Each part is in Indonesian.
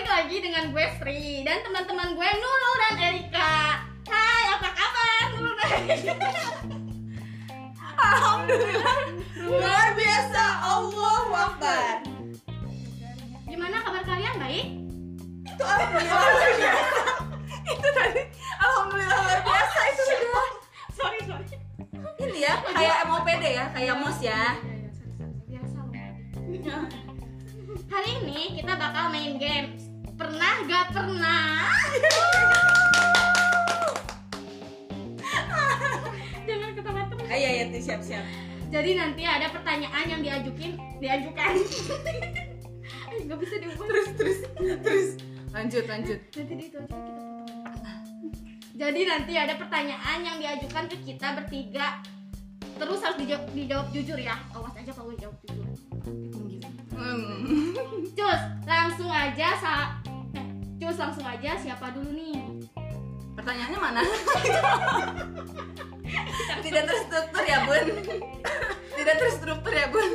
lagi dengan gue Sri dan teman-teman gue Nurul dan Erika. Hai, apa kabar Nurul dan Erika? Alhamdulillah luar biasa Allahu Akbar Gimana kabar kalian? Baik? itu alhamdulillah luar biasa itu tadi alhamdulillah luar biasa itu sudah Sorry, sorry. ini ya kayak MOPD ya kayak mos ya Iya, Biasa loh. Hari ini kita bakal main game. Pernah gak pernah? Jangan ketawa terus. ayo ya tuh siap siap Jadi nanti ada pertanyaan yang diajukin, diajukan. Aduh, Gak bisa diubah. terus terus terus lanjut lanjut Nanti dia itu aja kita potong. Jadi nanti ada pertanyaan yang diajukan ke kita bertiga. Terus harus dijawab, dijawab jujur ya. Awas aja kalau dijawab jujur. hmm. Cus, langsung aja sa eh, Cus langsung aja siapa dulu nih? pertanyaannya mana tidak terstruktur ya bun tidak terstruktur ya bun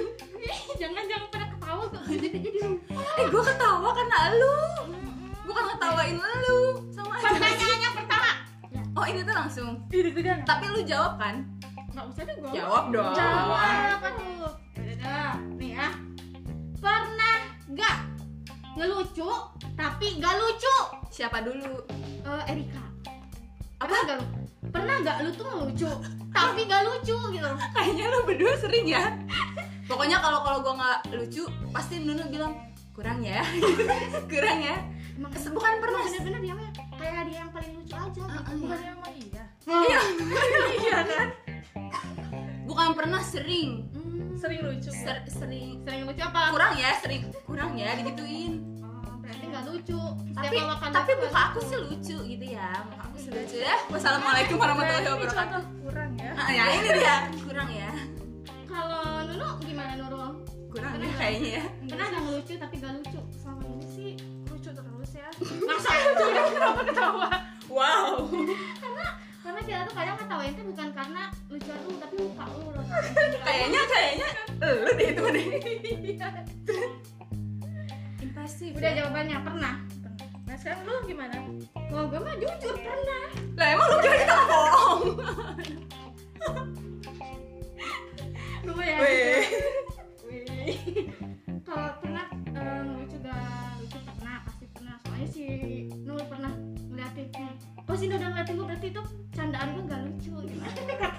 jangan jangan pada ketawa kok jadi jadi lupa. eh gue ketawa karena lu bukan ngetawain lu sama aja Pertanyaannya pertama. oh ini tuh langsung Itu sudah. tapi lu jawab kan Enggak usah deh gua. Jawab dong. Jawab apa tuh? Dadah. Nih ya. Pernah gak ngelucu tapi gak lucu? Siapa dulu? Eh, Erika. Apa? Pernah gak lu? Pernah gak lu tuh ngelucu tapi gak lucu gitu? Kayaknya lo berdua sering ya. Pokoknya kalau kalau gua nggak lucu, pasti Nunu bilang kurang ya, kurang ya. Emang Kes- Bukan pernah. bener-bener dia mah kayak dia yang paling lucu aja. gitu. Iya. Bukan- emang iya Iya, iya kan? Bukan pernah sering, Hmm. sering lucu Ser- sering Sering lucu apa? kurang ya, sering kurang ya digituin. Oh, berarti nggak lucu Setiap Tapi lawakan tapi itu muka aku sih lucu gitu ya, muka aku sih lucu ya. Wassalamualaikum warahmatullahi Nah, Ini wabarakatuh. contoh kurang ya Ah, ya ini dia kurang ya, kalau Nunu gimana Nurul kurang ya kayaknya ya. pernah nggak ngelucu tapi nggak lucu selama ini sih lucu terus ya masa kenapa ketawa Wow. karena kita tuh kadang ketawain tuh bukan karena lucuan lu tapi muka lu loh Kayaknya kayaknya lu deh itu deh. Iya. Impresif. udah jawabannya pernah nah sekarang lu gimana wah gue mah jujur pernah Lah emang lu kira kita bohong? gue ya Weh. Weh. kalau pernah eh, ngelucu gak lucu pernah pasti pernah soalnya si Nurul pernah ngeliatin hmm, oh si Nurul udah ngeliatin gue berarti itu candaan gue gak lucu gitu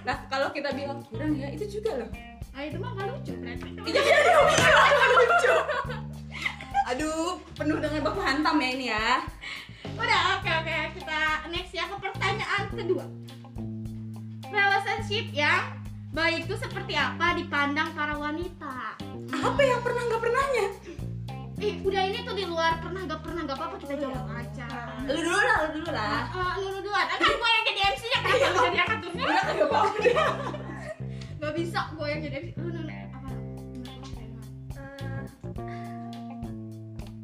Nah kalau kita bilang kurang ya itu juga loh. ah itu mah gak lucu berarti Iya iya iya, iya iya, lucu. Aduh penuh dengan baku hantam ya ini ya. Udah, oke oke kita next ya ke pertanyaan kedua. Relationship yang baik itu seperti apa dipandang para wanita? Apa yang pernah nggak pernahnya? Eh, udah ini tuh di luar pernah gak pernah gak apa-apa Oh, kita iya. jawab aja. Lu dulu lah, lu dulu lah. Eh, Nurul duluan, Eh, kan gue yang jadi MC nya kenapa lu jadi aturnya? Udah kagak mau deh. Gak bisa gue yang jadi MC. Lu Nurul apa? Eh,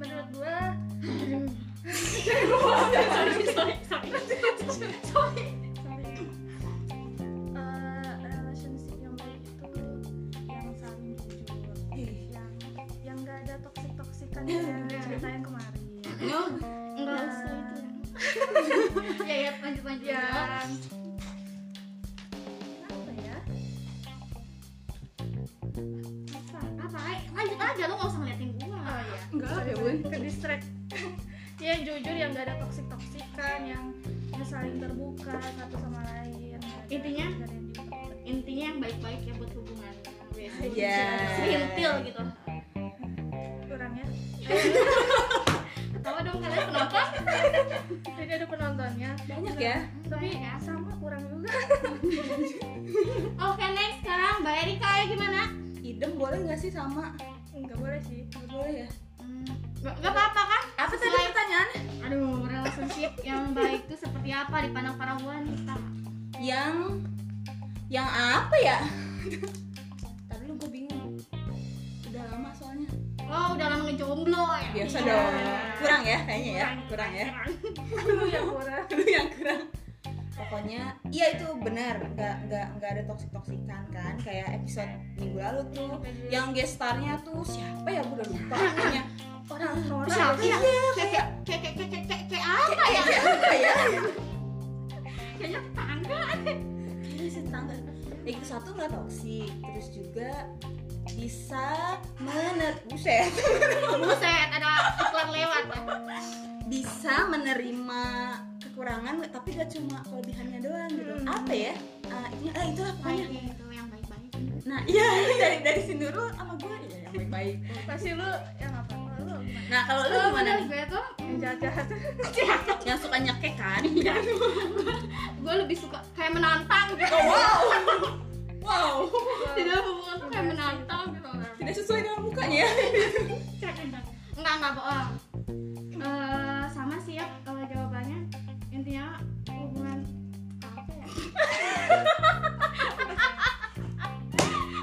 menurut gua Sorry sorry sorry. Sorry. sorry Eh, relationship yang baik itu yang saling jujur Iya. yang yang gak ada toksik toksikan yang cerita yang kemarin Iya. Enggak usah itu. Ya ya lanjut lanjut. yang apa ya Apa? Apa? Ay, lanjut aja lu gak usah ngeliatin gue. oh iya Enggak ya bun. ke distract yang jujur yang gak ada toksik toksikan yang yang saling terbuka satu sama lain Nggak ada- Intinya? nggak ada yang diutak-atik. intinya yang baik-baik ya buat hubungan Wes, Iya. serintil gitu kurang ya ketawa dong kalian kenapa jadi ada penontonnya Banyak ya. tapi Baik ya. sama kurang juga oke next sekarang mbak Erika ya gimana Idem boleh nggak sih sama? nggak boleh sih Nggak boleh ya. Hmm, nggak nggak apa-apa kan Apa tadi Selain- pertanyaannya? aduh relationship yang baik itu seperti apa dipandang para wanita Yang yang apa ya? Tadi lu gue bingung. Udah lama soalnya. oh udah lama ngejomblo ya biasa Iya. dong kurang ya kayaknya ya Kurang, kurang ya lu yang Iya, kurang dulu yang kurang pokoknya iya itu benar nggak nggak nggak ada toksik toksikan kan kayak episode minggu lalu tuh yang gestarnya tuh siapa ya gue udah lupa pokoknya orang Nora siapa ya Iya, kayak kayak kayak kayak kayak apa ya apa ya kayaknya tetangga Kayaknya sih tangga Eh, Yang itu satu nggak toksik terus juga bisa mener buset buset ada iklan lewat bisa menerima kekurangan tapi gak cuma kelebihannya doang gitu Hmm. apa ya Ah, itunya ah, itulah pokoknya baik itu gitu, yang baik baik nah iya dari dari sini dulu sama gue ya yang baik baik pasti lu yang apa lu Iya. gimana? nah kalau lu kalau gimana bener nih? gue tuh yang jahat-jahat yang suka nyekek kan gue lebih suka kayak menantang gitu Oh, wow wow di dalam hubungan tuh kayak menantang gitu tidak sesuai dengan mukanya ya. enggak enggak bohong Eh, sama sih ya kalau jawabannya intinya hubungan apa ya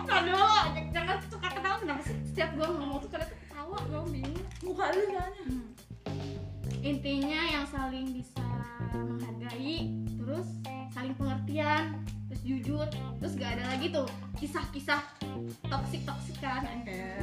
aduh j- jangan suka ketawa kenapa sih setiap gue ngomong tuh kadang ketawa gue bingung muka lu soalnya intinya yang saling bisa menghargai terus saling pengertian terus jujur terus gak ada lagi tuh kisah-kisah kan. toksik toksikan ya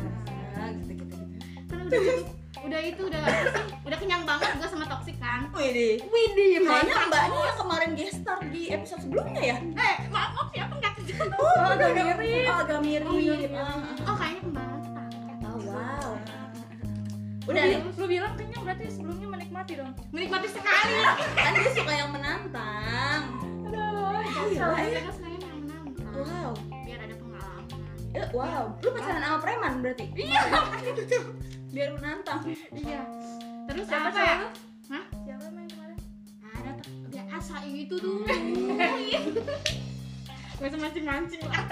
gitu gitu gitu kan udah cukup- udah itu udah apa sih udah kenyang banget gue sama toksik kan wih deh Widih, Oh, kayaknya mbaknya yang kemarin guest star di episode sebelumnya ya Eh, maaf, maaf siapa nggak kerja? oh agak mirip oh agak mirip Oh, mirip. Ah. Oh, kayaknya kembaran tetangga. Oh, wow. udah Udah, lu bilang kenyang berarti sebelumnya menikmati dong Eh, Menikmati sekali. kan dia suka yang menantang. Kalau saya kan saya yang menang. Wow. Biar ada pengalaman. Eh, wow. Lu pacaran sama preman berarti? Iya. Biar menantang. Iya. Terus Siapa apa ya? siapa? Hah? siapa yang main kemarin Ada biasa itu tuh. Gak usah mancing-mancing Iya. lah.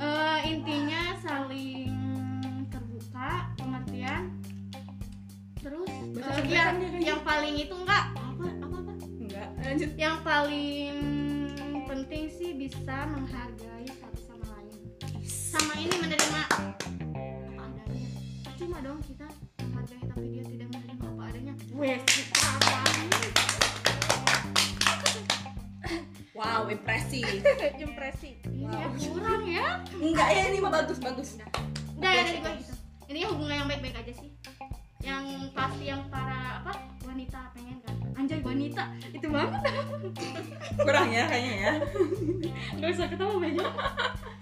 Eh, intinya saling terbuka, pengertian. Terus Baca eh, sebutan yang, dia kan? yang paling itu enggak apa apa apa Enggak. Lanjut. yang paling penting sih bisa menghargai satu sama lain sama ini menerima apa adanya percuma dong kita menghargai tapi dia tidak menerima apa adanya wes kita apa Wow, impresif. impresi ini Wow. ya kurang ya Enggak ya ini mah bagus bagus. udah ya dari gue gitu intinya hubungan yang baik-baik aja sih yang pasti yang para apa wanita pengen kan anjay wanita itu banget Kurang ya kayaknya ya. nggak usah ketemu banyak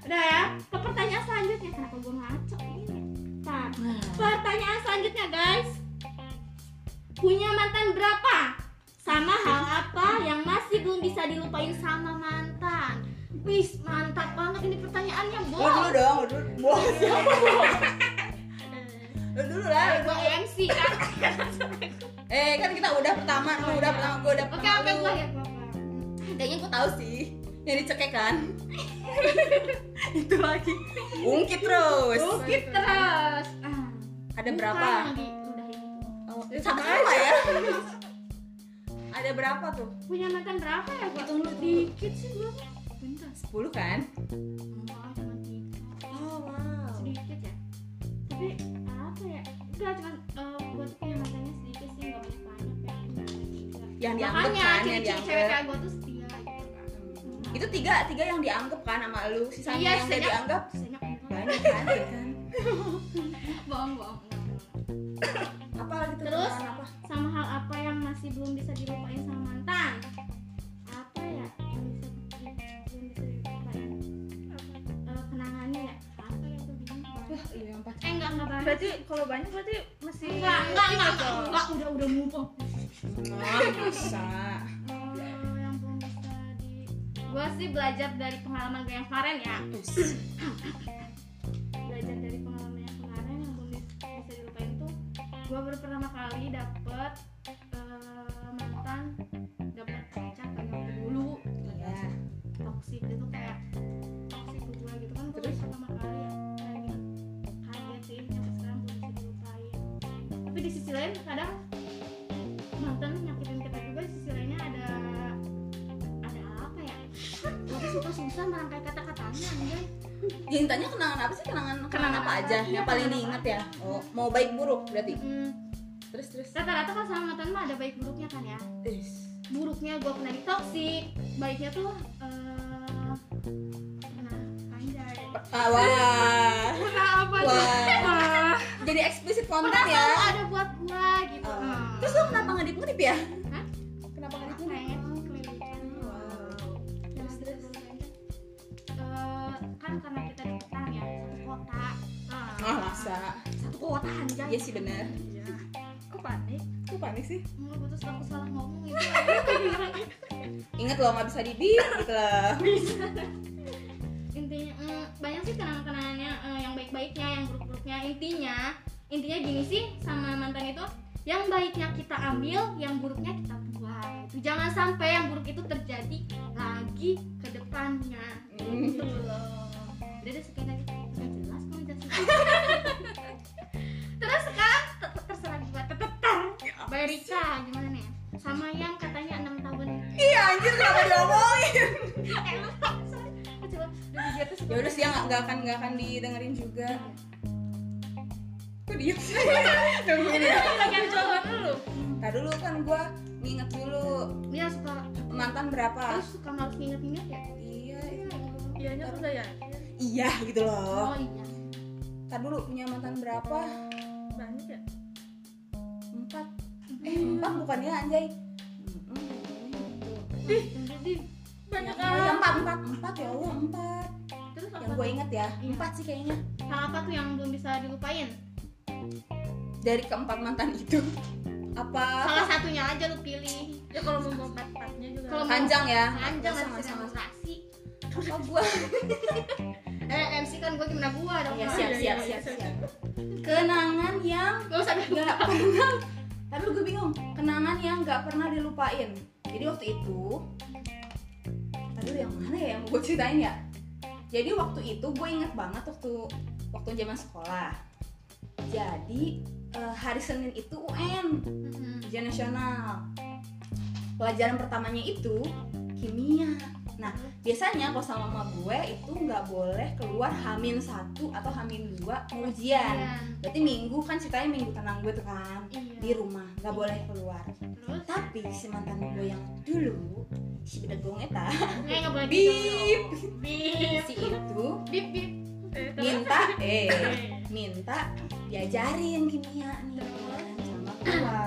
udah ya ke pertanyaan selanjutnya kenapa gue ngaco ini nah Pertanyaan selanjutnya guys Punya mantan berapa? Sama hal apa yang masih belum bisa dilupain sama mantan? Wis mantap banget ini pertanyaannya Lu bos dulu dong, lu dulu. Wah, siapa? Lu dulu lah. Eh, Gua MC kan Eh, kan kita udah pertama, lu udah pertama, gua udah Iya. Oke pertama. oke lu. gua ya gua gua. Kayaknya gua tahu sih. Yang dicekek kan. Itu lagi. Ungkit terus. Bukit terus Ah, Ada bukan berapa? yang diludahin itu. Oh, sama sama ya. Ada berapa tuh? Punya mantan berapa ya gua? Hitung dulu. Dikit sih gua Bentar 10 kan? Enggak cuma tiga Oh, wow. sedikit ya tapi apa ya enggak cuma eh, gue tuh punya mantannya sedikit sih nggak banyak banyak ya Nggak ada tiga. Yang dianggap makanya kan, yang ciri-ciri dianggap. cewek kayak gue tuh setia gitu kan Hmm. Itu tiga, tiga yang dianggap kan sama lu. Sisanya Iya, yang gak sisanya- dianggap banyak banget banyak kan? ya kan? bohong bohong bohong. Apa gitu? Terus? tuh, apa? sama hal apa yang masih belum bisa dilupain sama mantan apa ya yang bisa belum bisa dilupain Eh, kenangannya ya apa ya tuh bingung eh Wah, iya, empat. enggak enggak banget Nah, berarti kalau banyak berarti masih enggak enggak enggak enggak, enggak udah udah move on Ah, bisa. Oh, yang belum bisa di gue sih belajar dari pengalaman gue yang kemarin ya Terus. belajar dari pengalaman yang kemarin yang belum bis- bisa dilupain tuh gue baru pertama kali dapet eh, mantan dapet pacar kayak waktu dulu Iya. toksik itu kayak toksik ke gue gitu kan gue Terus? pertama kali ya kayak gitu. kaget sih sampai sekarang belum bisa dilupain tapi di sisi lain kadang mantan nyakitin kita juga di sisi lainnya ada ada apa ya aku suka susah merangkai kata-katanya anjay Cintanya kenangan apa sih? Kenangan kenangan Kenangan apa apa? aja Iya, yang paling kenangan diingat ya? Oh, mau baik buruk berarti. Mm, Terus terus. rata-rata kan sama mantan mah ada baik buruknya kan ya Terus. buruknya gue pernah ditoksik baiknya tuh eh pernah anjay Ah, wah. pernah apa tuh Wah. Wah. Jadi eksplisit konten pernah ya. selalu ada buat gua gitu Oh. Hmm. Terus lu kenapa nggak ngedip-ngedip ya? Hah? Kenapa ngedip-ngedip? Keren, kelilipan. Terus, Terus terus. Eh, kan karena kita di Ketang ya satu kota. Ah, Ah, masa? Satu kota anjay. Iya sih benar. Iya. Kok panik? Aku panik sih. Menurut terus aku salah ngomong gitu. itu. Ingat loh nggak bisa dibit gitu lah. intinya eh, banyak sih kenangan-kenangannya eh, yang baik-baiknya yang buruk-buruknya intinya intinya gini sih sama mantan itu yang baiknya kita ambil yang buruknya kita buang itu jangan sampai yang buruk itu terjadi lagi ke depannya Hmm. gitu loh udah deh sekian aja Nggak jelas kamu jelasin terus sekarang ter- ter- terserah juga teteter Mbak Rika gimana nih sama yang katanya enam tahun Iya anjir kenapa diomongin? eh lupa sorry Aku coba lebih jatuh terus Ya udah sih ya nggak- nggak akan nggak akan didengerin juga. Kok diem sih? Nungguin ya. Bagian jawaban dulu. Nah dulu kan gua nginget dulu Dia Iya, suka mantan berapa? terus suka harus nginget-nginget ya. Iya. Ianya udah ya? Iya gitu loh. Oh iya. Ntar dulu punya mantan berapa? Banyak ya? Empat. Eh empat bukannya anjay? Mm-mm. Jadi Banyak Ya, ya, ah. empat empat empat ya Allah empat. terus Yang apa? gue inget ya Iya. empat sih kayaknya. Hal apa tuh yang belum bisa dilupain? Dari keempat mantan itu apa? Salah satunya aja lu pilih. Ya kalau mau mau empat-empatnya juga. Iya, Kalau Panjang ya. Panjang sama masih sama. Oh, demonstrasi. Apa gue? Eh MC kan gue gimana gua dong. Iya Iya siap siap siap siap. iya. Kenangan yang Gak usah bilang. nggak pernah tapi lu gue bingung kenangan yang nggak pernah dilupain jadi waktu itu aduh yang mana ya yang mau gue ceritain ya jadi waktu itu gue inget banget waktu waktu zaman sekolah jadi eh, hari Senin itu UN Mhm. ujian nasional pelajaran pertamanya itu kimia nah biasanya kalau sama mama gue itu nggak boleh keluar hamin satu atau hamin dua mau ujian Iya. berarti minggu kan ceritanya minggu tenang gue tuh kan di Iya. rumah nggak boleh keluar Terus tapi si mantan gue yang dulu si bedegong eta eh nggak boleh Bip. gitu. Bip. si itu Bip bip. Eh, tapi minta eh Eh, minta diajarin kimia nih kan, sama gue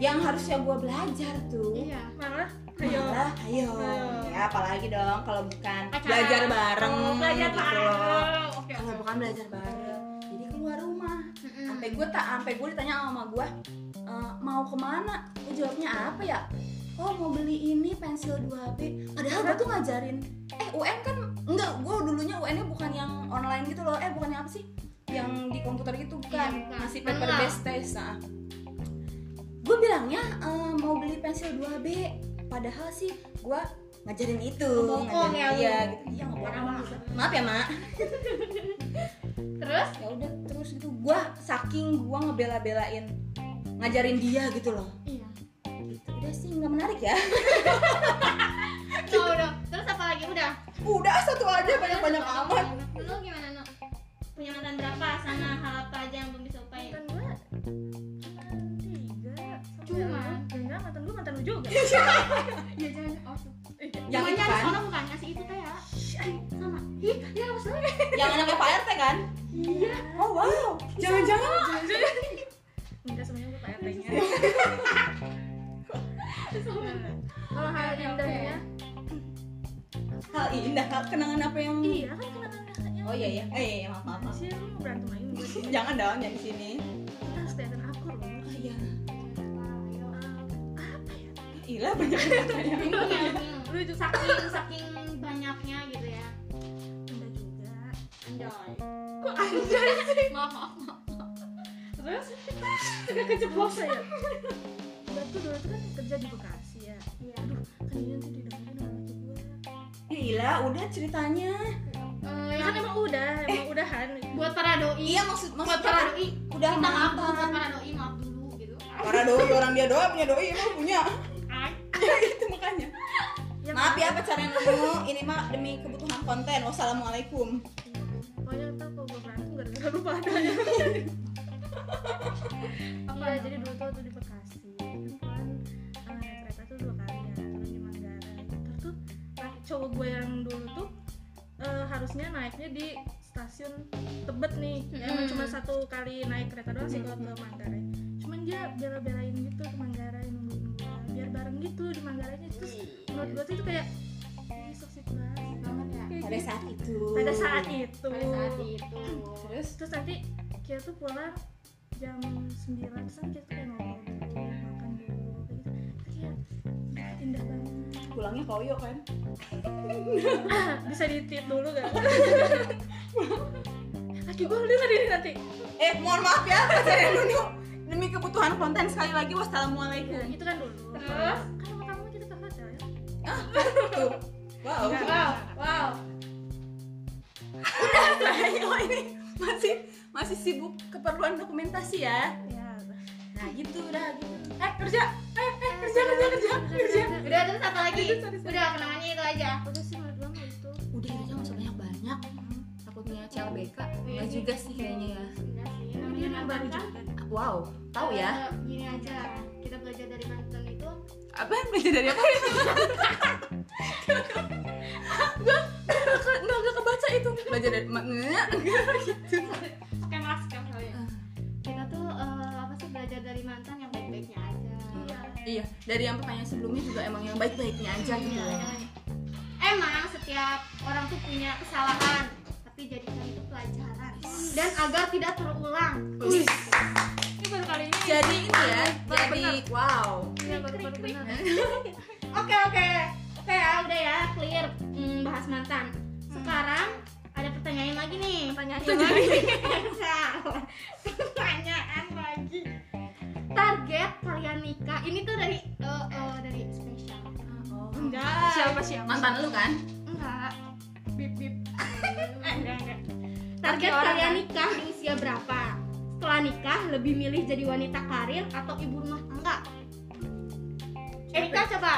yang harusnya gue belajar tuh Iya. malah ayo malah ayo Ayo. ya apalagi dong kalau bukan Pacaran. belajar bareng Oh, belajar gitu bareng. loh. Oke. kalau bukan belajar bareng jadi keluar rumah Mhm. sampai gue tak sampai gue ditanya sama mama gue "E, mau kemana gue jawabnya apa ya oh mau beli ini pensil 2B padahal gue tuh ngajarin eh UN kan enggak gue dulunya UN nya bukan yang online gitu loh eh bukan yang apa sih yang di komputer gitu Iya, kan bukan. masih paper Manual. based test nah. gue bilangnya "E, mau beli pensil 2B padahal sih gue ngajarin itu Bohong ya lu. ngajarin iya gitu iya Parah nggak banget. maaf ya mak Terus ya udah terus gitu gua saking gua ngebela-belain ngajarin dia gitu loh Iya. gitu udah sih nggak menarik ya Oh, udah. Terus apa lagi udah? udah satu aja banyak-banyak amat Lu gimana, Nok? Punya mantan berapa? Sama hal apa aja yang belum bisa upain? mantan gue tiga sama Cuma? yang lu. enggak mantan gue mantan lu juga Iya, jangan. Oh, yang itu ada kan sono bukan ngasih itu teh ya. Sama. Ih, iya, dia enggak masalah. yang anaknya Pak RT kan Iya. oh wow jangan-jangan enggak semuanya gue pak rt nya Iya. Kalau hal indahnya hal indah hal- kenangan apa yang iya kan kenangannya oh iya iya eh iya, iya, maaf maaf maaf. sih lu mau berantem lagi gue jangan dong yang di sini kita harus kelihatan akur loh oh iya iya. Ah, Ila banyak banget Lucu saking saking banyaknya gitu ya. enggak juga Anjay. Kok anjay sih? Maaf, maaf, maaf. Terus Apa ya gue tuh dulu tuh kan kerja di bekasi ya Iya. aduh kayaknya nanti didengerin sama anak gue ya Ila udah ceritanya Eh, ya ya kan kan emang udah emang udahan buat para doi. iya maksud Buat maksudnya para kan doi. udah Kita maaf maafan buat para doi maaf dulu gitu. Kan? para doi orang dia doa punya doi emang punya Ay. itu makanya Maaf ya pacaran lu, ini mah demi kebutuhan konten. Wassalamualaikum. pokoknya ntar Oh, kalau gue berantem gara-gara lu pada ya Apa Iya, dong? jadi dulu tuh waktu di Bekasi kan eh, naik kereta tuh dua kali ya turun di Manggarai terus tuh nah, cowok gue yang dulu tuh eh, harusnya naiknya di stasiun Tebet nih yang Mm. cuma satu kali naik kereta doang sih kalau ke Manggarai cuman dia dia bela-belain gitu ke Manggarai nungguin gua biar bareng gitu di Manggarainya terus menurut gua tuh itu kayak ih sosok banget banget ya Kayak pada gitu. saat itu pada saat itu pada saat itu terus terus nanti kita tuh pulang jam 9 terus nanti kita tuh kayak ngobrol dulu makan dulu kayak gitu Itu kayak "Duh, indah banget pulangnya koyo kan bisa ditip dulu gak? Kaki gue denger ini nanti Eh, mohon maaf ya, saya dulu demi kebutuhan konten sekali lagi wassalamualaikum. Itu kan dulu Terus? Kan sama kamu kita pernah ya tuh wow wow wow Oh ini masih masih sibuk keperluan dokumentasi ya. Iya. Ya Nah gitu udah gitu. Eh kerja, eh, eh kerja kerja kerja kerja. udah terus apa lagi udah kenangannya itu aja Udah sih menurut gue mah itu Udah aja nggak usah banyak banyak. Takutnya CLBK. Enggak juga Hmm. Iya sih kayaknya ya. enggak sih namanya mantan Ini kan Wow, tahu eh, ya? gini aja kita belajar dari mantan itu Apa yang belajar dari apa? Gue nggak nggak kebaca itu. Belajar dari mana? scam lah scam kali ya. kita tuh eh, apa sih belajar dari mantan yang baik-baiknya aja Iya, dari yang pertanyaan sebelumnya juga emang yang baik-baiknya aja gitu. Iya, jangan- emang setiap orang tuh punya kesalahan tapi jadikan itu pelajaran dan agar tidak terulang Wih. Ini baru kali ini jadi ini ya jadi wow Iya baru baru benar Oke oke oke ya udah ya clear Hmm, bahas mantan. Sekarang ada pertanyaan lagi nih. Hmm. Pertanyaan lagi. Salah. Pertanyaan lagi. Target kalian nikah ini tuh dari eh, eh, dari spesial. Enggak. Siapa sih yang mantan lu kan Enggak. Bip bip. Eh, enggak, enggak. Tapi Target orang kalian kan? nikah di usia berapa? Setelah nikah lebih milih jadi wanita karir atau ibu rumah tangga? Erika coba.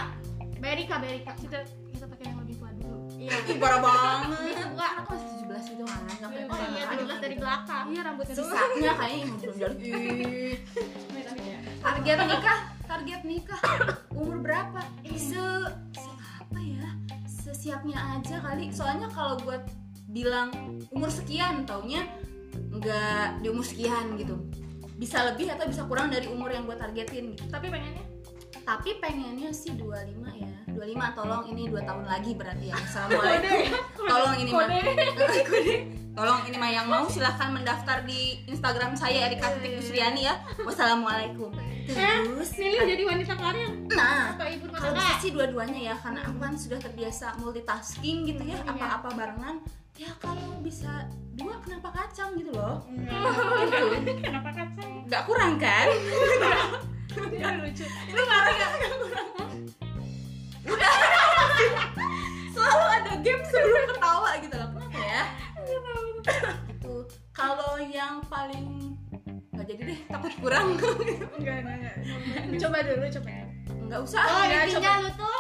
Berika Berika. Kita kita pakai yang lebih tua dulu Iya. ih parah banget Bisa gua aku masih 17 gitu kan nggak kayak Oh iya, orang-orang terlihat dari gitu. belakang. Iya rambutnya dulu sisanya kayaknya yang belum jadi Ih. target nikah target nikah umur berapa Eh, se se apa ya sesiapnya aja kali soalnya kalau buat bilang umur sekian taunya nggak di umur sekian gitu bisa lebih atau bisa kurang dari umur yang gue targetin gitu Tapi pengennya tapi pengennya sih 25 ya 25 tolong ini 2 tahun lagi berarti ya Assalamualaikum tolong ini mah Kode. tolong ini mah yang mau silahkan mendaftar di Instagram saya Erika Titik Kusriani ya wassalamualaikum terus Milih jadi wanita karir nah atau ibu rumah kalau tangga? bisa sih dua-duanya ya karena aku kan sudah terbiasa multitasking gitu ya apa-apa barengan ya kalau bisa dua kenapa kacang gitu loh Iya. gitu Kenapa kacang? nggak kurang kan Dia lucu lu marah gak? udah selalu ada game sebelum ketawa gitu loh kenapa ya gitu kalau yang paling nggak jadi deh takut kurang Enggak enggak enggak Coba dulu coba nggak usah Oh, Enggak, intinya lu tuh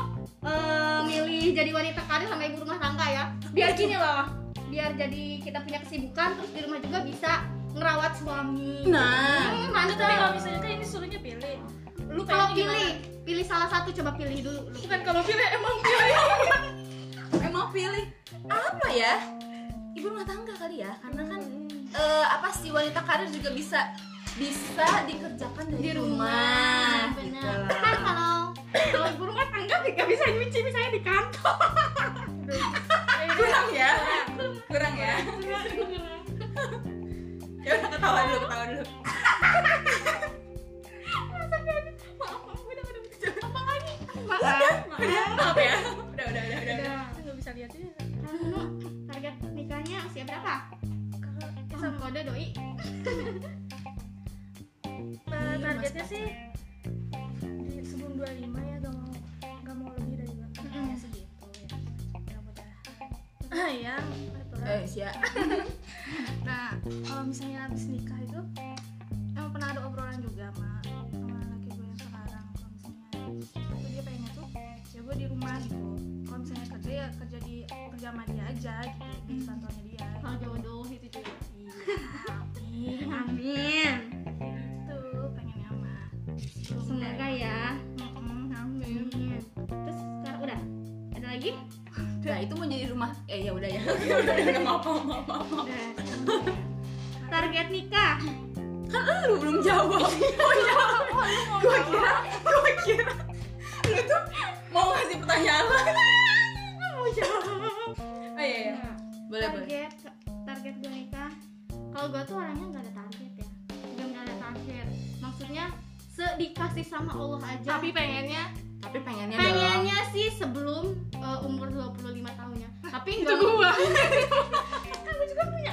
eh, milih jadi wanita karir sama ibu rumah tangga ya. Biar gini loh, biar jadi kita punya kesibukan terus di rumah juga bisa ngerawat suami. nah Hmm, Tapi kalau mantap. misalnya kan ini suruhnya pilih Lu Kalau pengennya pilih, gimana? pilih salah satu coba pilih dulu. lu. Bukan kalau pilih emang pilih emang pilih apa ya ibu rumah tangga kali ya karena kan eh, apa sih wanita karir juga bisa bisa dikerjakan dari Di rumah, rumah, gitu benar. lah. Kan kalau kalau ibu rumah tangga nggak bisa nyuci, misalnya di kantor. kurang ya kurang ya ya udah ketawa dulu ketawa dulu Maaf, maaf, udah, udah, udah. udah maaf ya udah udah udah udah Udah. Enggak bisa lihat ya Nah, Nunu, target nikahnya usia berapa? Kalau Ya, sama kode doi. Eh, targetnya sih di sebelum 25 ya gak mau gak mau lebih dari dua Mm-mm. tahun segitu ya mudah-mudahan ya betul eh sia nah kalau misalnya habis nikah itu emang pernah ada obrolan juga sama sama laki gue yang sekarang kalau misalnya itu dia pengennya tuh ya gue di rumah gitu kalau misalnya kerja ya kerja di kerja sama dia aja gitu di kantornya dia Kalau jodoh itu juga. Iya, amin Amin. gitu pengennya mah Sebelum Semoga ya. Mm-mm, amin Amin. Terus sekarang udah. Ada lagi? nah itu mau jadi rumah eh ya udah ya udah udah maaf maaf maaf maaf Udah. Target nikah. kan lu belum jawab oh iya gue kira gue kira lu tuh mau ngasih pertanyaan lagi mau jawab oh iya, iya. boleh boleh target target gue nikah kalau gue tuh orangnya nggak ada target ya gue nggak ada target maksudnya sedikasih sama Allah aja Tapi pengennya tapi pengennya dong pengennya sih sebelum uh, umur 25 tahunnya tapi itu nggak gua. kan gue juga punya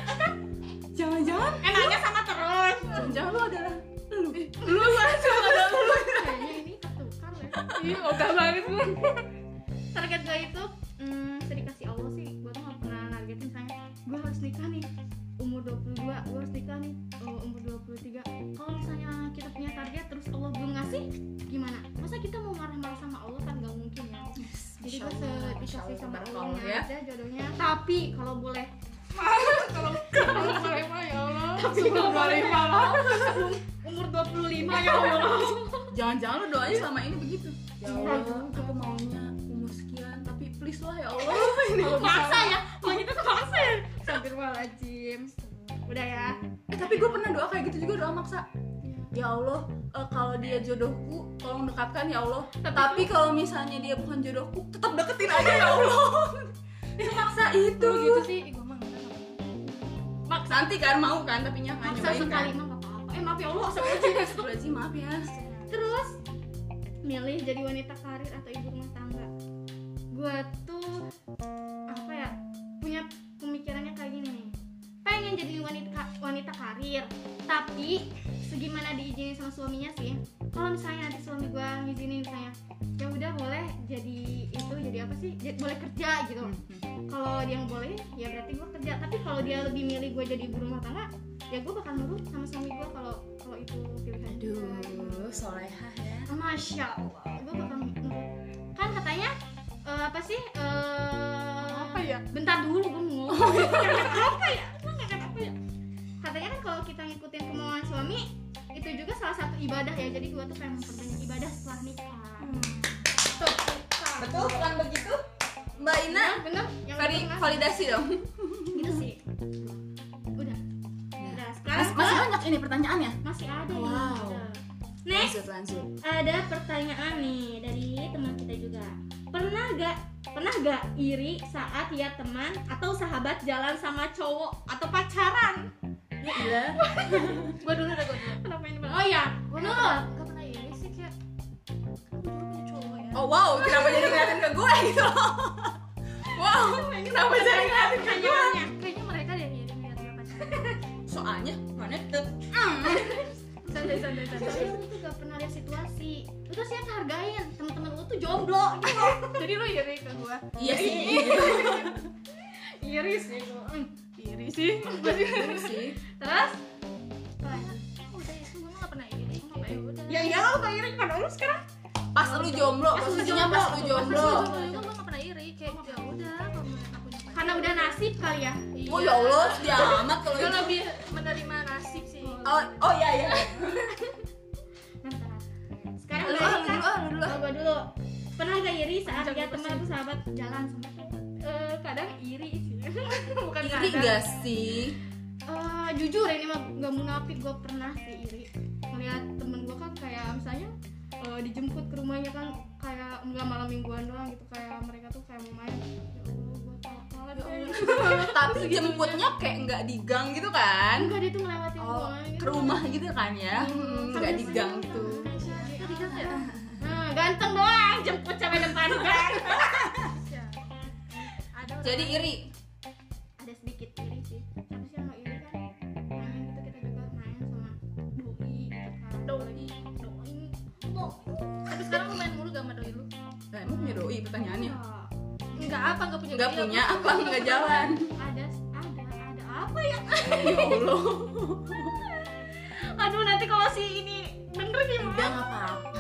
jangan-jangan enaknya sama terus jangan-jangan lu adalah Eh, lu Lu langsung ada lu. kayaknya ini tertukar ya Ih, ogah banget lu. target gue itu hmm, sedikasih Allah sih gue tuh gak pernah nargetin misalnya gue harus nikah nih umur 22 gue harus nikah nih uh, umur 23 kalau misalnya kita punya target terus Allah belum ngasih gimana masa kita mau marah-marah sama Allah kan gak mungkin ya jadi Insya gue Allah, Insya sedikasih Allah, sama Allah berkah ya. ya. aja jodohnya tapi kalau boleh Kalau boleh mah ya Allah. Sebelum boleh malah. umur 25 ya Allah jangan-jangan lu doanya selama ini begitu ya Allah Enggak aku maunya umur sekian tapi please lah ya Allah maksa ya kalau gitu tuh maksa ya sambil wajib udah ya Eh, tapi gue pernah doa kayak gitu juga doa maksa. Ya Allah, eh, kalau dia jodohku, tolong dekatkan ya Allah. Tapi kalau misalnya dia bukan jodohku, tetap deketin aja ya Allah. dia maksa itu. Lu gitu sih, ih, gua mah enggak. Maksa. Nanti kan mau kan, tapi nya nggak maksa nyobain kan. sekali mah gak apa-apa eh maaf ya Allah Astagfirullahaladzim, maaf ya. Terus milih jadi wanita karir atau ibu rumah tangga. Gue tuh apa ya punya pemikirannya kayak gini nih. Pengen jadi wanita wanita karir, tapi segimana diizinin sama suaminya sih. Kalau misalnya nanti suami gue ngizinin misalnya, ya udah boleh jadi itu jadi apa sih? Jadi- boleh kerja gitu. Kalau dia yang boleh, ya berarti gue kerja. Tapi kalau dia lebih milih gue jadi ibu rumah tangga, ya gue bakal nurut sama suami gue kalau kalau itu pilihan dia, gitu. Aduh, solehah ya. Masya Allah, gue bakal nurut. Kan katanya eh, apa sih? eh, Apa ya? Oh, iya. Bentar dulu gue mau ngomong. Ngangkat apa ya? Gue ngangkat apa ya? Katanya kan kalau kita ngikutin kemauan suami itu juga salah satu ibadah ya. Jadi gue tuh pengen memperbanyak ibadah setelah nikah. Hmm. Betul bukan begitu? Mbak Ina, Nah, bener? Yang vari- bener, validasi dong. gitu sih. Udah, udah. Sekarang Mas- masih banyak ini pertanyaannya. masih ada. ini, Wow. ada. Next. Lanjut, lanjut. ada pertanyaan nih dari teman kita juga pernah gak pernah gak iri saat ya teman atau sahabat jalan sama cowok atau pacaran Ya iya. Gua dulu deh, gua dulu. kenapa ini oh ya Gua Nul. nggak- nggak pernah ini sih kayak kan gua dulu punya cowok ya. Oh wow, kenapa jadi ngeliatin ke gue gitu loh. Wow, kenapa jadi ngeliatin ke gue? pertanyaannya Kayaknya mereka deh yang iri lihat dia pacaran. Soalnya mana tet. Hmm. Santai santai santai. soalnya lu tuh gak pernah lihat situasi lu tuh siapa hargain teman-teman lu tuh jomblo gitu Jadi lu iri ke gua. Iya sih. iri sih Iri sih. Iya sih. terus Udah itu gua nggak pernah iri. Apa ya udah. ya iyalah lu gak iri pada lu sekarang Pas lu jomblo, Pas lu posisinya jomblo, pas lu jomblo. Pas gua juga gua nggak pernah iri kayak ya udah kalau mereka punya pacar. karena udah nasib kali ya Iya. Oh ya Allah, dia amat kalau Gue itu. lebih menerima nasib sih. Oh, oh iya iya. Mantap. sekarang Lu udah ah, lu nikah dulu, ah, lu dulu. ah. Kalau gua dulu pernah gak iri saat Panjang dia gua teman pasti. atau sahabat jalan sama cowok? Eh, kadang iri sih. Bukan Iri gak sih? Eh, jujur ini mah gak munafik gue pernah sih iri melihat temen gue kan kayak misalnya eh, dijemput ke rumahnya kan kayak nggak malam mingguan doang gitu kayak mereka tuh kayak mau main ya allah gue salah Ya deh Tapi jemputnya kayak nggak di gang gitu kan? enggak dia tuh ngelewatin Oh, gua ke gitu. rumah gitu kan ya? Hmm, Nggak di gang gitu. Tadi kan ya, kayak, "Ah, ganteng doang jemput cewek depan gang Ada orang- Jadi iri. ada sedikit iri sih tapi sih yang nggak iri kan main gitu kita juga main sama doi gitu kan doi. doi Tapi sekarang lu main mulu gak sama doi lu? Lah, emang punya doi pertanyaannya? Ah, Enggak apa, enggak punya Nggak doi, punya Ya, apa? apa? Nggak jalan? ada ada ada apa ya Ya Allah. aduh nanti kalau si ini bener Udah gimana nggak apa-apa.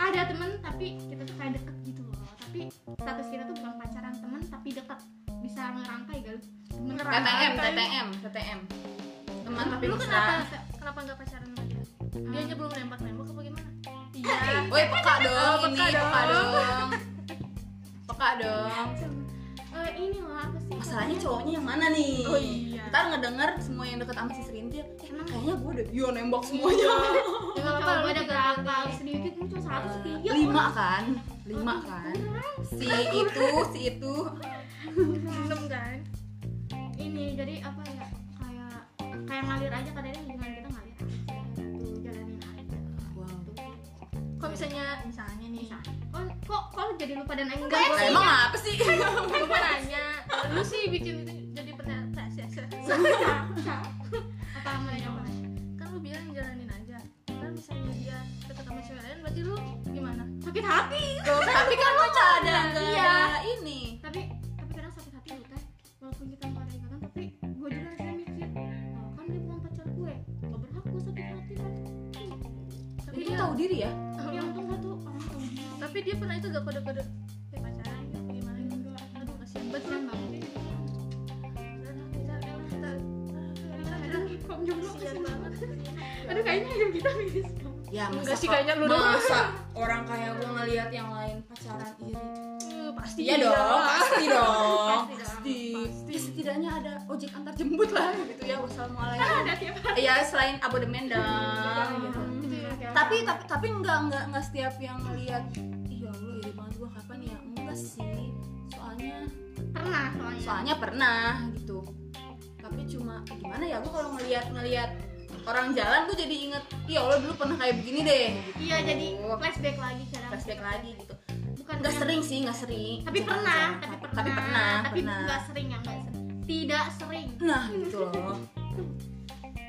ada temen tapi kita tuh kayak deket gitu loh tapi status kita tuh bukan pacaran temen tapi deket bisa ngerangkai guys temen TTM, ngerangkai. TTM, TTM. Teman tapi Lu kenapa mesra. kenapa enggak pacaran sama dia? Dia aja belum nembak-nembak apa gimana? Iya. Woi, peka dong Oh, ini, peka peka dong. dong. Peka dong. Eh, kayak inilah apa sih masalahnya cowoknya yang mana nih Oh iya. ntar ngedenger semua yang deket sama si Serintil emang kayaknya gue udah dia nembak semuanya Ya, kalau Kalau gue lu ada tiga gagal kali. sedikit itu satu sekian lima kan lima kan si itu si itu minum kan ini jadi apa ya kayak kayak ngalir aja kadang hubungan kita ngalir aja tuh jalanin aja wow kok misalnya misalnya nih Misal. kok kok kok lu jadi lupa dan enggak Kayak Nah, boleh. emang apa sih lupa nanya lu sih bikin itu jadi pertanyaan apa namanya apa kan lu bilang jalanin aja kan misalnya dia deket sama cewek lain berarti lu gimana sakit hati tapi kan lu nggak ada nggak Iya. ada ini tapi tapi kadang sakit hati lu kan walaupun kita nggak ada ikatan tapi gue juga harusnya mikir "Oh, kan dia bukan pacar gue gak berhak gue sakit hati kan tapi itu dia Iya. tahu diri ya yang untung satu orang tahu dia tapi dia pernah itu gak kode-kode ya pacaran gitu gimana gitu aduh kasihan banget kesian banget ya udah lah, kita udah lah, kita udah lah, aduh kom jomblo kasihan kesian banget banget aduh kayaknya hidup kita miris banget ya Enggak sih, kayaknya lu doang. masa orang kayak gue ngelihat yang lain pacaran iri Eh, pasti iya dong pasti Pasti dong dong, pasti Ya, setidaknya ada ojek antar jemput lah gitu ya wassalamualaikum ada tiap ya selain abodemen dan gitu Gitu ya, kayak- tapi tapi tapi nggak nggak nggak setiap yang lihat iya allah iri banget gua kapan ya enggak sih soalnya pernah soalnya soalnya pernah gitu tapi cuma gimana ya gua kalau ngelihat ngelihat orang jalan tuh jadi inget iya allah dulu pernah kayak begini deh iya jadi Oh. flashback lagi kadang flashback lagi gitu bukan nggak yang- sering sih nggak sering tapi Jarang, pernah, jarang. tapi pernah tapi pernah tapi pernah. nggak sering ya nggak sering tidak sering nah gitu loh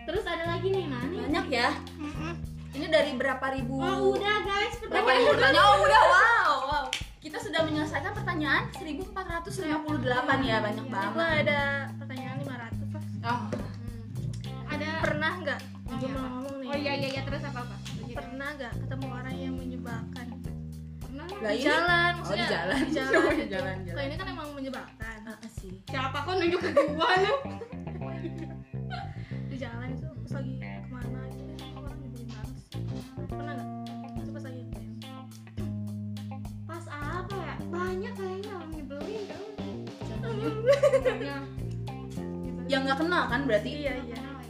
terus ada lagi nih mana banyak ya ini dari berapa ribu oh udah guys berapa pertanyaan ribu pertanyaan oh udah wow wow kita sudah menyelesaikan pertanyaan 1458 ya banyak gua banget ada pertanyaan 500 lah oh Hmm. ada pernah nggak Oh, gua iya, mau apa? ngomong nih oh iya iya iya terus apa apa Lanjut. pernah nggak ketemu orang yang menyebalkan pernah lah. lah di ini jalan oh di maksudnya jalan di Oh, jalan, di gitu. jalan Kalau jalan ini kan emang menyebalkan Ah, sih siapa kok nunjuk ke gua lu di jalan itu pas lagi kemana gitu ya orang nyebelin banget sih. pernah nggak itu pas lagi ngetem. pas apa ya banyak kayaknya orang nyebelin tau. Pokoknya. yang nggak kenal kan berarti iya iya Kenal ya?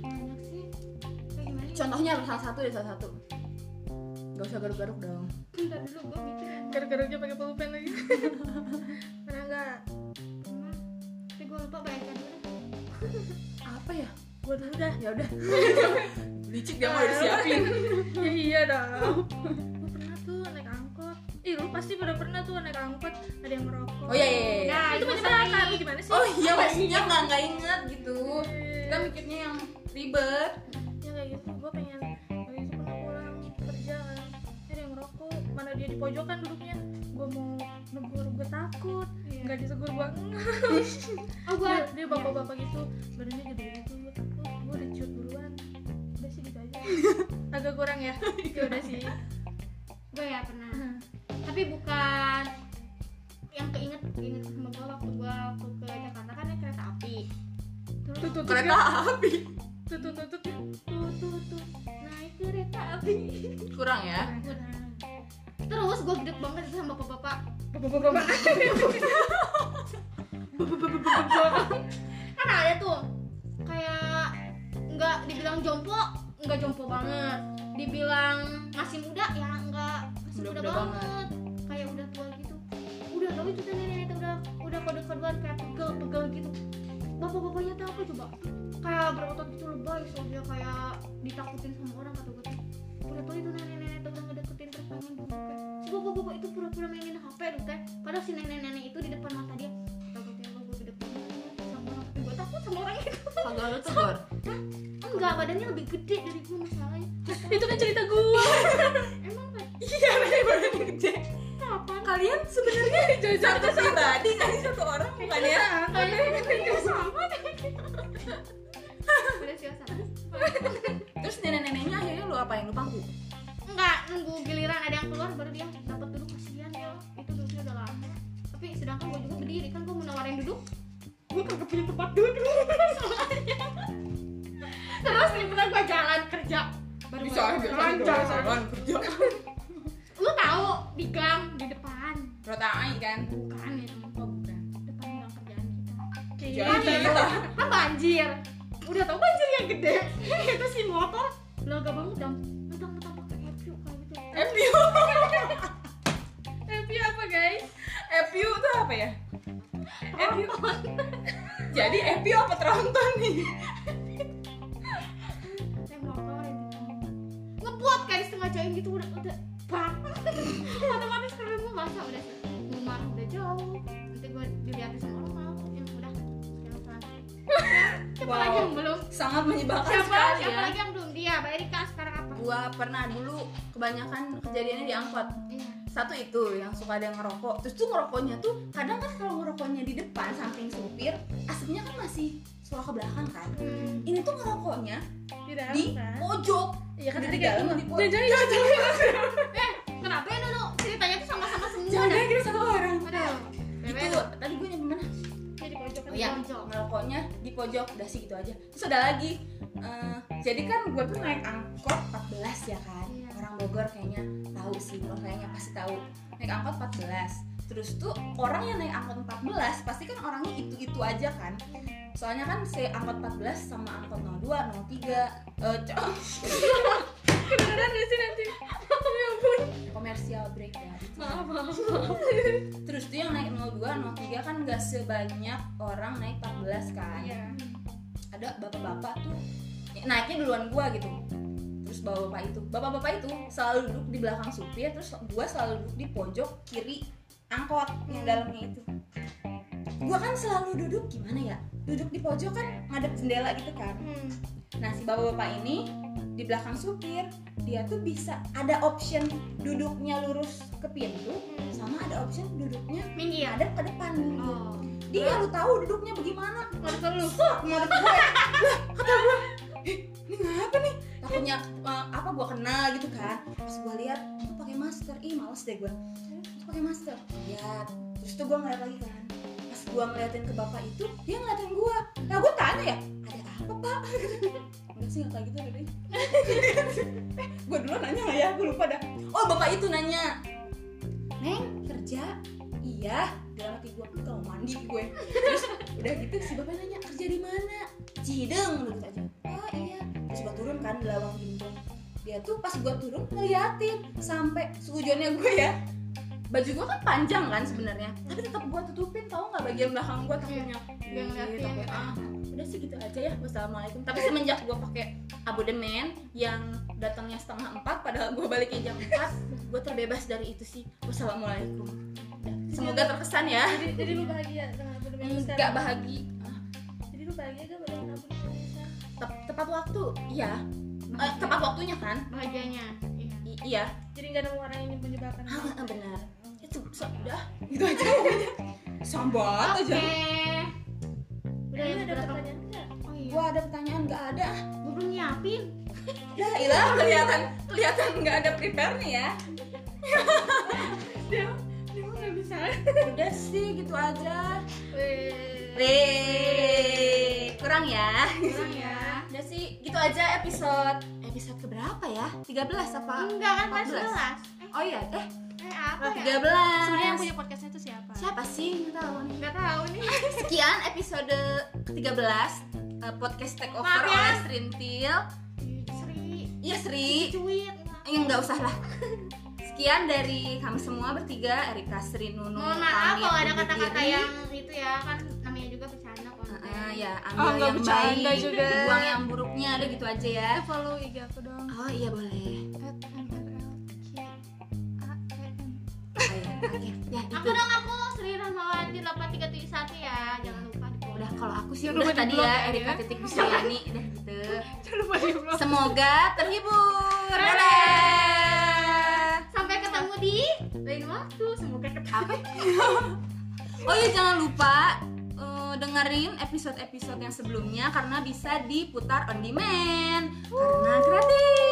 banyak sih Kayak gimana ya? contohnya harus salah satu ya salah satu Gak usah garuk-garuk dong bentar dulu gua mikir garuk-garuknya pakai pulpen lagi pernah nggak Pernah. tapi gua lupa bayangkan dulu apa ya gua dulu dah ya udah licik dia mau udah disiapin Ya, iya dong gua pernah tuh naik angkot ih lu pasti udah pernah tuh naik angkot ada yang merokok oh iya iya, iya nah itu itu menyebalkan lu gimana sih iya. oh iya maksudnya nggak nggak inget gitu kita Kan mikirnya yang ribet ya kayak gitu gue pengen dari itu pernah pulang kerja kan Ini ada yang merokok mana dia di pojokan duduknya gue mau negur gue takut Iya. nggak ditegur gue enggak oh gua dia, dia bapak-bapak gitu badannya gede gitu gue takut gue dicut duluan udah sih gitu aja agak kurang ya ya udah sih gue ya pernah tapi bukan yang keinget keinget sama gue waktu gue waktu ke Jakarta kan naik kereta api tuh tuh tuh kereta api tuh tuh tuh tuh tuh tuh tuh naik kereta api kurang ya Nah, terus gue gede banget itu sama bapak-bapak bapak-bapak kan ada tuh kayak nggak dibilang jompo nggak jompo banget dibilang masih muda ya nggak masih muda, Muda-muda banget. banget. kayak udah tua gitu udah tapi itu nenek-nenek udah udah kode kodean kayak pegel pegel gitu bapak bapaknya tuh apa coba kayak berotot gitu lebay soalnya kayak ditakutin sama orang kata gue tuh udah tua itu nenek-nenek tuh udah ngedeketin terus pengen duduk kayak si bapak bapak itu pura-pura mainin hp lu teh padahal si nenek-nenek itu di depan mata dia takut ya Allah, gue gede banget sama orang gue takut sama orang itu kalau lu tegur enggak badannya lebih gede dari gue masalahnya itu kan cerita gue emang kan iya bener bener gede apa kalian sebenarnya satu pribadi kan satu orang bukan ya kayaknya kita sama deh udah sih sama terus nenek-neneknya akhirnya lu apain lu pangku enggak nunggu giliran ada yang keluar baru dia dapat duduk kasihan ya itu duduknya udah lama tapi sedangkan gue juga berdiri kan gue mau nawarin duduk gue kagak punya tempat duduk soalnya terus liburan gue jalan kerja baru aja lancar, jalan kerja lu tahu di gang di depan kereta api kan bukan itu oh bukan Iya, kan itu kan banjir udah tau banjir yang gede itu si motor laga banget dong mentang mentang pakai FU kayak gitu FPU FPU apa guys? FPU tuh apa ya? FPU Jadi FPU apa tronton nih? saya motor yang gitu ngebuat kayak setengah jam gitu udah udah bang otomatis kalau gue basah udah gue marah udah jauh nanti gue dilihatin sama orang malu ya udah sekarang lagi siapa Wow. lagi yang belum sangat menyebalkan siapa sekali siapa ya lagi yang belum dia mbak Erika sekarang apa gua pernah dulu kebanyakan kejadiannya di angkot Iya. satu itu yang suka ada yang ngerokok terus tuh ngerokoknya tuh kadang kan kalau ngerokoknya di depan samping supir asapnya kan masih suara ke belakang kan Hmm. ini tuh ngerokoknya di dalam di kan pojok iya kan di tadi dalam kayak di pojok jangan jangan eh kenapa ya Nunu ceritanya tuh sama-sama semua jangan dah. kita satu orang Udah. Bebe, itu tadi gue nyampe mana jadi pojokan oh ya pojok. ngerokoknya di pojok udah sih gitu aja terus ada lagi eh, jadi kan gue tuh naik angkot 14 ya kan Iya. orang Bogor kayaknya tahu sih lo kayaknya pasti tahu naik angkot 14 terus tuh orang yang naik angkot 14 pasti kan orangnya itu itu aja kan soalnya kan si angkot 14 sama angkot 02 03 eh co- kedengeran gak sih nanti komersial break ya Maaf, maaf. terus tuh yang naik 02 03 kan gak sebanyak orang naik 14 kan iya ada bapak-bapak tuh ya, naiknya duluan gua gitu terus bawa bapak itu bapak-bapak itu selalu duduk di belakang supir terus gua selalu duduk di pojok kiri angkot yang dalamnya itu gua kan selalu duduk gimana ya duduk di pojok kan ngadep jendela gitu kan Hmm. nah si bapak-bapak ini di belakang supir dia tuh bisa ada option duduknya lurus ke pintu sama ada option duduknya minggir ngadep ke depan oh dia nggak tahu duduknya bagaimana Ngadep ke lu. Sok, ngadep gue lah kata gue "Ih, ini ngapa nih takutnya eh, apa gue kenal gitu kan terus gue lihat itu pakai masker ih males deh gue terus pakai masker lihat terus tuh gue ngeliat lagi kan pas gue ngeliatin ke bapak itu dia ngeliatin gue nah gue tanya ya ada apa pak enggak sih nggak kayak gitu tadi gue dulu nanya nggak ya gue lupa dah oh bapak itu nanya neng kerja iya dalam hati gue kalau mandi gue udah gitu si bapak nanya kerja di mana Cideng udah gitu aja oh iya terus gua turun kan di lawang gintung dia tuh pas gua turun ngeliatin sampai seujonnya gue ya baju gua kan panjang kan sebenarnya tapi tetap gua tutupin tau nggak bagian belakang gua takutnya dia ngeliatin, Takut, gitu. ah, udah sih gitu aja ya wassalamualaikum tapi semenjak gua pakai abodemen yang datangnya setengah empat padahal gua baliknya jam empat gua terbebas dari itu sih wassalamualaikum Udah, semoga terkesan ya jadi jadi lu bahagia dengan aku demi lu nggak sekarang? bahagi jadi lu bahagia gak dengan aku demi lu sekarang? Tep- tepat waktu iya Eh, tepat waktunya kan bahagianya iya I- iya jadi gak nemu orang yang menyebalkan Ah, ah, benar itu so, udah gitu aja pokoknya. sambat oke aja udah Ini yang ada berapa pertanyaan nggak? oh iya gua ada pertanyaan nggak ada gue belum nyiapin ya ilah kelihatan kelihatan nggak ada prepare nih ya dia dia mah nggak bisa udah sih gitu aja Weh. Weh, kurang ya kurang ya udah sih gitu aja episode episode keberapa ya 13 apa enggak kan kelas 14 oh iya eh sebelas eh apa ya 13 sebenarnya yang punya podcastnya itu siapa siapa sih nggak tahu nih nggak tahu nih Sekian episode ke-13 eh, podcast Takeover Maaf ya. oleh Srintil. Sri Iya Sri, cuit yang nggak usah lah. Sekian dari kami semua bertiga, Erika Sri Nunu. mohon maaf pamit kalau ada undur kata-kata diri. yang itu ya kan namanya juga bercanda konten Heeh, ya, Oh, ambil nggak yang bercanda baik, juga. buang yang buruknya, ada gitu aja ya. Eh, follow IG aku dong Oh iya boleh. at Oh, iya. Oke, ya gitu. aku dong aku Sri Rahmawati 8371 ya jangan lupa di follow Udah kalau aku sih Iya, Jangan udah lupa tadi di-block ya ya, Erika ya. titik Kusayani udah gitu. jangan lupa di blog Semoga terhibur. Dadah. sampai ketemu di lain waktu semoga ketemu apa oh iya jangan lupa eh, dengerin episode-episode yang sebelumnya karena bisa diputar on demand karena gratis